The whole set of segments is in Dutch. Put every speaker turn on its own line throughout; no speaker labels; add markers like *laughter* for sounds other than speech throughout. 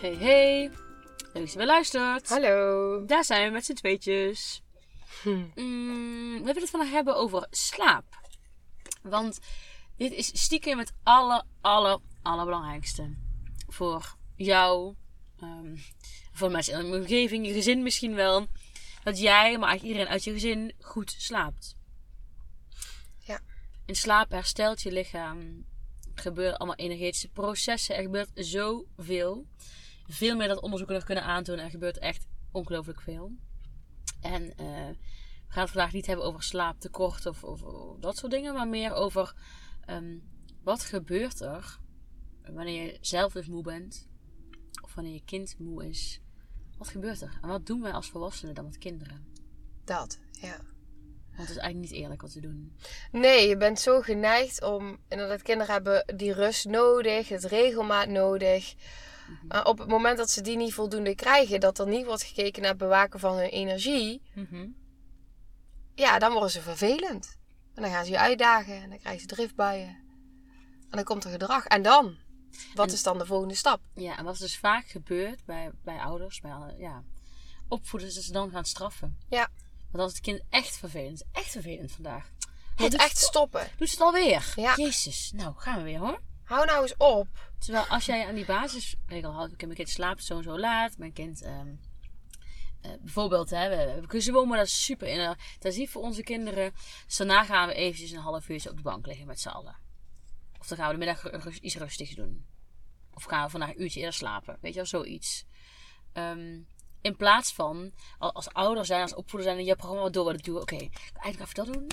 Hey hey, leuk dat je weer luistert.
Hallo.
Daar zijn we met z'n tweetjes. Mm, we willen het vandaag hebben over slaap. Want dit is stiekem het aller, aller, allerbelangrijkste. Voor jou, ehm, voor mensen in je omgeving, je gezin misschien wel. Dat jij, maar eigenlijk iedereen uit je gezin, goed slaapt.
Ja.
En slaap herstelt je lichaam. Er gebeuren allemaal energetische processen. Er gebeurt zoveel. Veel meer dat onderzoeken nog kunnen aantonen. Er gebeurt echt ongelooflijk veel. En eh, we gaan het vandaag niet hebben over slaaptekort of, of, of dat soort dingen. Maar meer over ehm, wat gebeurt er wanneer je zelf dus moe bent. Of wanneer je kind moe is. Wat gebeurt er? En wat doen wij als volwassenen dan met kinderen?
Dat, ja.
Want het is eigenlijk niet eerlijk wat we doen.
Nee, je bent zo geneigd om... Inderdaad, kinderen hebben die rust nodig, het regelmaat nodig. Maar op het moment dat ze die niet voldoende krijgen... dat er niet wordt gekeken naar het bewaken van hun energie... ja, dan worden ze vervelend. En dan gaan ze je uitdagen en dan krijgen ze driftbuien. En dan komt er gedrag. En dan? Wat
En-
is dan de volgende stap?
Ja, en wat dus vaak gebeurt bij, bij ouders, bij alle- ja, opvoeders, is dat ze dan gaan straffen.
Ja.
Want als het kind echt vervelend is, echt vervelend vandaag.
Je moet
doet
echt
het-
stoppen.
Doet ze het alweer?
Ja.
Jezus, nou gaan we weer hoor.
Hou nou eens op.
Terwijl als jij aan die basisregel houdt, oké, mijn kind slaapt zo en zo laat, mijn kind, ehm, eh, bijvoorbeeld, hè, we we hebben gezwommen, dat is super in- intensief voor onze kinderen. Dus daarna gaan we eventjes een half uurtje op de bank liggen met z'n allen. Of dan gaan we de middag ru- rust- iets rustigs doen. Of gaan we vandaag een uurtje eerder slapen, weet je wel, zoiets. Ehm, in plaats van, al- als ouder zijn, als opvoeder zijn, en je programma wat door wat ik doe, oké, eigenlijk even dat doen.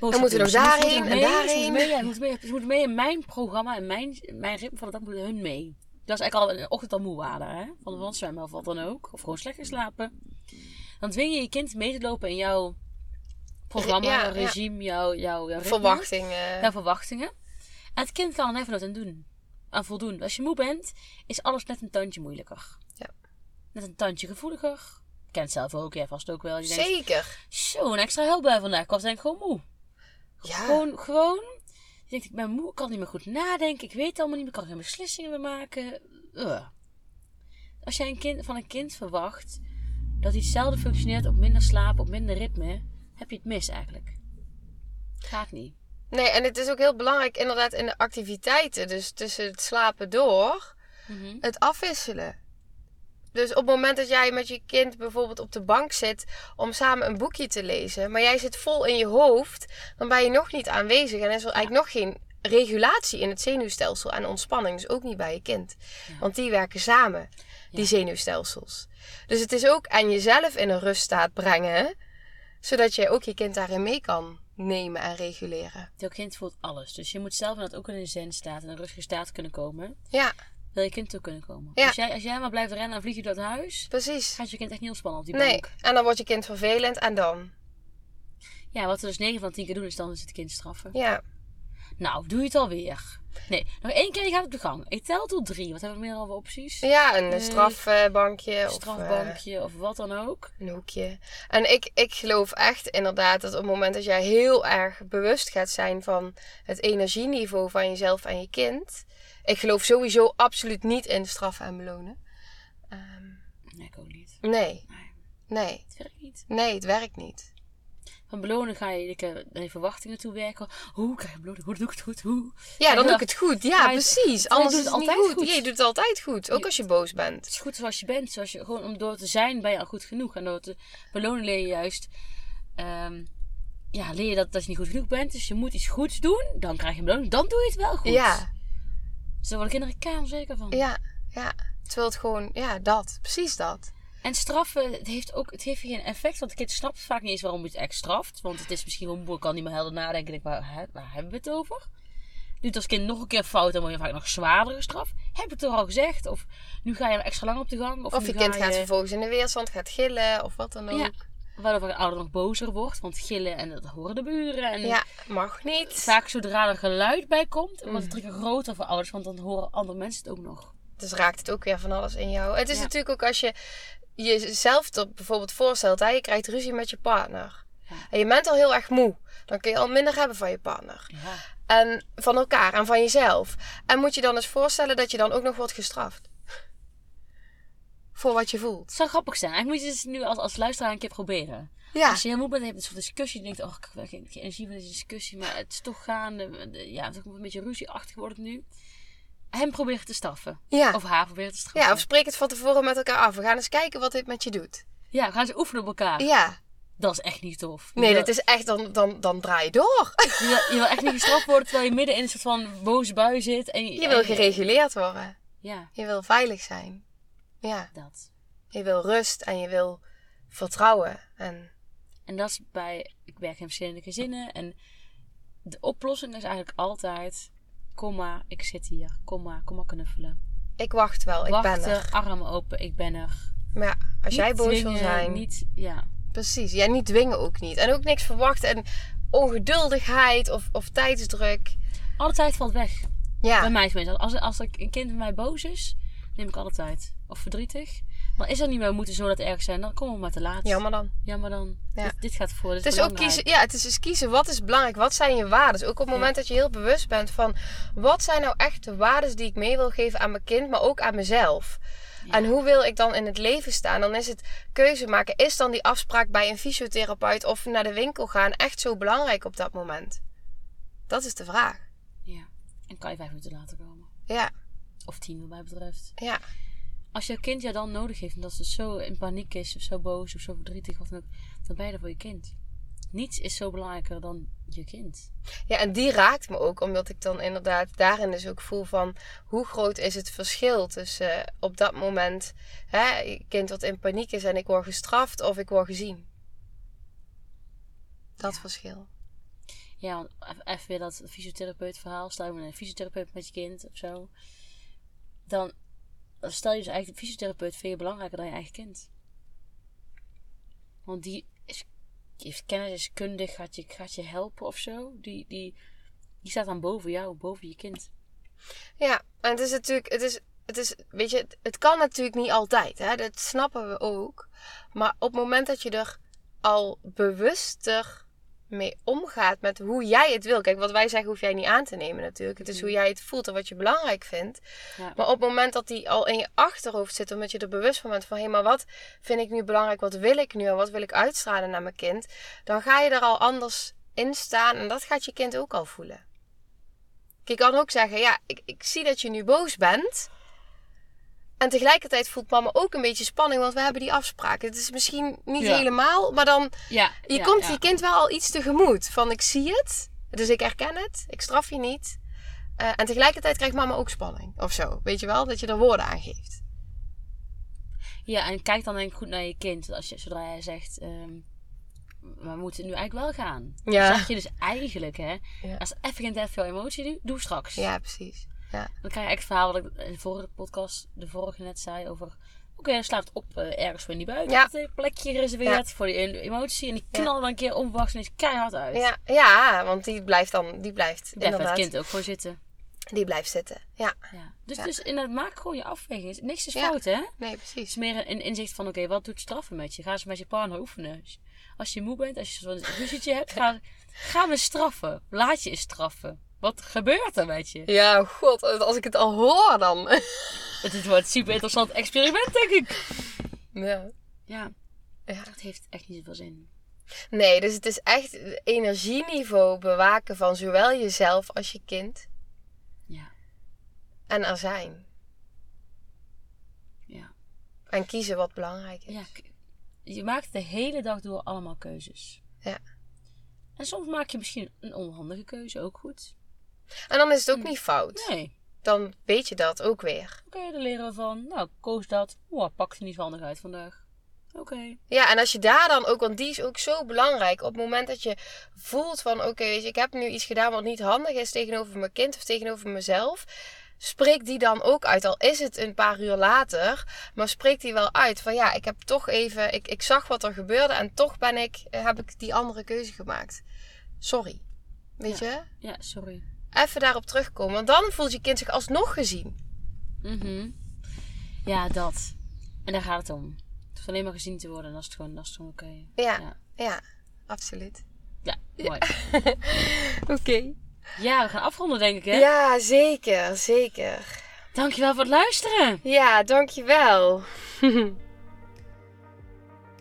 Dan
moeten we nog daarheen en daarheen.
mee, ja, je moet mee, je moet mee in mijn programma, en mijn, mijn ritme van de dag moeten hun mee. Dat is eigenlijk al een ochtend al moe waren, hè? Van de wand zwemmen of wat dan ook. Of gewoon slecht geslapen. Dan dwing je je kind mee te lopen in jouw programma,
Ja,
jouw
ja.
regime, jouw, jouw, jouw ritme,
Verwachtingen.
Jouw verwachtingen. En het kind kan er even wat aan doen. Aan voldoen. Als je moe bent, is alles net een tandje moeilijker.
Ja.
Net een tandje gevoeliger. Kent zelf ook, jij vast ook wel. Je denkt,
Zeker.
zo, een extra help bij vandaag. Ik was denk ik gewoon moe.
Ja.
Gewoon, gewoon. Je denkt, ik ben moe, ik kan niet meer goed nadenken. Ik weet het allemaal niet meer, ik kan geen beslissingen meer maken. Ugh. Als jij een kind, van een kind verwacht dat hij hetzelfde functioneert op minder slaap, op minder ritme, heb je het mis eigenlijk. Gaat niet.
Nee, en het is ook heel belangrijk inderdaad in de activiteiten. Dus tussen het slapen door... het afwisselen. Dus op het moment dat jij met je kind bijvoorbeeld op de bank zit om samen een boekje te lezen, maar jij zit vol in je hoofd, dan ben je nog niet aanwezig en is er eigenlijk nog geen regulatie in het zenuwstelsel en ontspanning, dus ook niet bij je kind. Want die werken samen, die zenuwstelsels. Dus het is ook aan jezelf in een ruststaat brengen, zodat jij ook je kind daarin mee kan nemen en reguleren.
Jouw kind voelt alles. Dus je moet zelf inderdaad ook in een zen-staat, en een rustige staat kunnen komen.
Ja,
Wil je kind toe kunnen komen.
Ja.
Als, jij, als jij maar blijft rennen en vlieg je door het huis,
precies.
gaat je kind echt niet ontspannen op die
Nee,
bank.
en dan wordt je kind vervelend en dan.
Ja, wat we dus 9 van 10 keer doen, is dan is het kind straffen.
Ja,
Nou, doe je het alweer. Nee, nog één keer je gaat op de gang. Ik tel tot drie. Wat hebben we meer over opties?
Ja, een
Nee.
strafbankje
Een
of eh,
strafbankje of wat dan ook.
een hoekje. En ik, ik geloof echt inderdaad dat op het moment dat jij heel erg bewust gaat zijn van het energieniveau van jezelf en je kind. Ik geloof sowieso absoluut niet in straffen en belonen. Ehm,
Nee, ik ook niet.
nee,
Nee,
nee,
het werkt niet.
nee, het werkt niet.
Van belonen ga je dikke naar je verwachtingen toe werken. Hoe krijg je beloning? Hoe doe ik het goed? Hoe?
Ja,
Ja.
dan doe ik het goed. Ja,
Maar je-
precies. Anders
doet
is het
het
niet
altijd
goed.
goed.
Ja, je doet het altijd goed. Ook
Je-
als je boos
Het
bent.
is goed zoals je bent. Zoals je, gewoon om door te zijn ben je al goed genoeg. En door te belonen leer je juist... ehm, ja, leer je dat, dat je niet goed genoeg bent. Dus je moet iets goeds doen. Dan krijg je een beloning. Dan doe je het wel goed.
Ja,
Dus daar worden kinderen kernzeker van.
ja, ja. Terwijl het gewoon, ja, dat. Precies dat.
En straffen, het heeft ook het heeft geen effect. Want het kind snapt vaak niet eens waarom je het echt straft. Want het is misschien wel moeilijk, kan niet meer helder nadenken. Denk, waar, hè, waar hebben we het over? doet als kind nog een keer fout, dan word je vaak nog zwaardere straf. Heb ik het toch al gezegd? Of nu ga je er extra lang op de gang. Of,
Of
nu
je
ga
kind gaat vervolgens in de weerstand, gaat gillen of wat dan ook.
Ja.
Ja,
Waardoor een ouder nog bozer wordt, want gillen en dat horen de buren. En
mag niet.
vaak zodra er geluid bij komt, wordt
Mm.
het drie keer groter voor ouders, want dan horen andere mensen het ook nog.
Dus raakt het ook weer van alles in jou. Het is
Ja.
natuurlijk ook als je jezelf er bijvoorbeeld voorstelt, hè, je krijgt ruzie met je partner.
Ja.
En je bent al heel erg moe. Dan kun je al minder hebben van je partner.
Ja.
En van elkaar en van jezelf. En moet je dan eens voorstellen dat je dan ook nog wordt gestraft. Voor wat je voelt.
Het zou grappig zijn. Eigenlijk moet je het nu als, als luisteraar een keer proberen.
Ja,
Als Dus je heel moe bent, heb je een soort discussie. Je denkt, oh, ik heb wel geen geen energie voor deze discussie. Maar het is toch gaande. we- de- Ja, het is ook een beetje ruzieachtig geworden nu. Hem proberen te straffen.
ja.
Of haar proberen te straffen.
ja, of spreek het van tevoren met elkaar af. We gaan eens kijken wat dit met je doet.
Ja, gaan ze oefenen op elkaar.
Ja,
Dat is echt niet tof. Je
nee,
wil-
dat is echt, dan, dan, dan draai je door.
Je wil, je wil echt niet gestraft worden terwijl je midden in een soort van boze bui zit. En,
Je wil
en-
gereguleerd worden.
Ja,
Je wil veilig zijn. Ja.
dat.
Je wil rust en je wil vertrouwen. En
En dat is bij... Ik werk in verschillende gezinnen. En de oplossing is eigenlijk altijd... Komma, ik zit hier. Komma, komma knuffelen.
ik wacht wel, ik
Wachten,
ben er.
armen open, ik ben er.
Maar ja, als jij
Niet
boos
dwingen,
wil zijn.
Niet, ja.
Precies. Ja, niet dwingen ook niet. En ook niks verwachten. En ongeduldigheid of, of tijdsdruk.
Altijd valt weg. Bij
Ja,
mij is het meestal. Als, als ik een kind met mij boos is, neem ik altijd. Of verdrietig. Maar is dat niet meer, we moeten zo dat erg zijn, dan komen we maar te laat.
jammer dan.
Jammer dan.
Ja.
Dit, dit gaat voor. Dit
Het is, ook
belangrijk.
kiezen, ja, het is dus kiezen wat is belangrijk, wat zijn je waarden. Ook op het moment dat je heel bewust bent van wat zijn nou echt de waarden die ik mee wil geven aan mijn kind, maar ook aan mezelf. En hoe wil ik dan in het leven staan? Dan is het keuze maken. Is dan die afspraak bij een fysiotherapeut of naar de winkel gaan echt zo belangrijk op dat moment? Dat is de vraag.
Ja. En kan je vijf minuten later komen.
Ja,
Of tien, wat mij betreft.
ja,
Als jouw kind jou dan nodig heeft, omdat ze zo in paniek is, of zo boos, of zo verdrietig, of dan ook, dan ben je er voor je kind. Niets is zo belangrijker dan je kind.
ja. En die raakt me ook, omdat ik dan inderdaad daarin dus ook voel van hoe groot is het verschil tussen eh, op dat moment hè, een kind wat in paniek is en ik word gestraft of ik word gezien. Dat verschil.
Ja, want eff- even weer dat fysiotherapeut verhaal. Stel je met een fysiotherapeut met je kind of zo. Dan stel je dus eigenlijk de fysiotherapeut veel belangrijker dan je eigen kind. Want die is, die heeft kennis, is kundig, gaat je, gaat je helpen of zo. Die, die, die staat dan boven jou, boven je kind.
Ja, en het is natuurlijk, het is, het is, weet je, het, het kan natuurlijk niet altijd, hè? dat snappen we ook. Maar op het moment dat je er al bewuster mee omgaat met hoe jij het wil. Kijk, wat wij zeggen hoef jij niet aan te nemen natuurlijk. Het is hoe jij het voelt en wat je belangrijk vindt.
Ja.
Maar op het moment dat die al in je achterhoofd zit, omdat je er bewust van bent van hé, maar wat vind ik nu belangrijk, wat wil ik nu en wat wil ik uitstralen naar mijn kind, dan ga je er al anders in staan en dat gaat je kind ook al voelen. Je kan ook zeggen, ja, ik, ik zie dat je nu boos bent. En tegelijkertijd voelt mama ook een beetje spanning, want we hebben die afspraak. Het is misschien niet
Ja.
helemaal, maar dan
Ja,
je komt je kind wel al iets tegemoet. Van ik zie het, dus ik herken het, ik straf je niet. Eh, en tegelijkertijd krijgt mama ook spanning of zo. Weet je wel, dat je er woorden aan geeft.
Ja, en kijk dan denk ik goed naar je kind. Als je, zodra jij zegt, ehm, we moeten nu eigenlijk wel gaan.
Ja.
Zeg je dus eigenlijk, hè.
Ja.
Als er even geen tijd veel emotie doet, doe straks.
Ja, precies. Ja,
Dan krijg je echt het verhaal wat ik in de vorige podcast, de vorige net zei over... Oké, hij slaapt op eh, ergens voor in die buik.
Ja.
Heeft een plekje gereserveerd voor die e- emotie. En die knallen dan een keer onverwachts en is keihard uit.
ja, ja want die blijft dan, die blijft
Daar gaat het
inderdaad,
kind ook voor zitten.
die blijft zitten. Ja,
Ja. Dus,
Ja.
dus inderdaad, maak gewoon je afweging. Is- Niks is
Ja.
fout, hè?
nee,
Het
precies.
is meer een- een inzicht van, oké, wat doet straffen met je? Ga eens met je partner oefenen. Dus Als je moe bent, als je zo'n ruzietje hebt, ga, ga me straffen. Laat je eens straffen. Wat gebeurt er met je?
Ja, god, als ik het al hoor dan. *laughs*
Het wordt een super interessant experiment, denk ik.
Ja.
Ja,
ja.
dat heeft echt niet zoveel zin.
Nee, dus het is echt het energieniveau bewaken van zowel jezelf als je kind.
Ja,
En er zijn.
ja.
En kiezen wat belangrijk is.
ja k- je maakt de hele dag door allemaal keuzes.
Ja.
En soms maak je misschien een onhandige keuze, ook goed.
En dan is het ook niet fout.
Nee,
Dan weet je dat ook weer.
oké, daar leren we van. Nou, koos dat. Wow, pakte niet handig uit vandaag. Oké, Oké.
Ja, en als je daar dan ook, want die is ook zo belangrijk. Op het moment dat je voelt van, oké, weet je, ik heb nu iets gedaan wat niet handig is tegenover mijn kind of tegenover mezelf. Spreek die dan ook uit, al is het een paar uur later. Maar spreek die wel uit van, ja, ik heb toch even, ik, ik zag wat er gebeurde en toch ben ik, heb ik die andere keuze gemaakt. Sorry. Weet je?
Ja, sorry.
Even daarop terugkomen, want dan voelt je kind zich alsnog gezien.
Mhm. Ja, dat. En daar gaat het om. Het hoeft alleen maar gezien te worden en dat is het gewoon, dat is het gewoon oké.
Ja,
Ja.
ja, absoluut.
Ja, mooi.
Oké.
Ja, we gaan afronden denk ik hè.
Ja, zeker, zeker.
Dankjewel voor het luisteren.
Ja, dankjewel.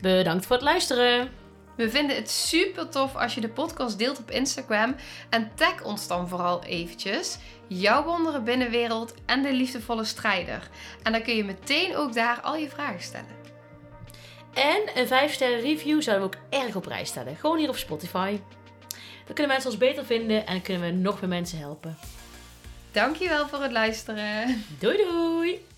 Bedankt voor het luisteren.
We vinden het super tof als je de podcast deelt op Instagram en tag ons dan vooral eventjes. Jouw wonderen binnenwereld en de liefdevolle strijder. En dan kun je meteen ook daar al je vragen stellen.
En een 5 sterren review zouden we ook erg op prijs stellen. Gewoon hier op Spotify. Dan kunnen mensen ons beter vinden en kunnen we nog meer mensen helpen.
Dankjewel voor het luisteren.
Doei doei!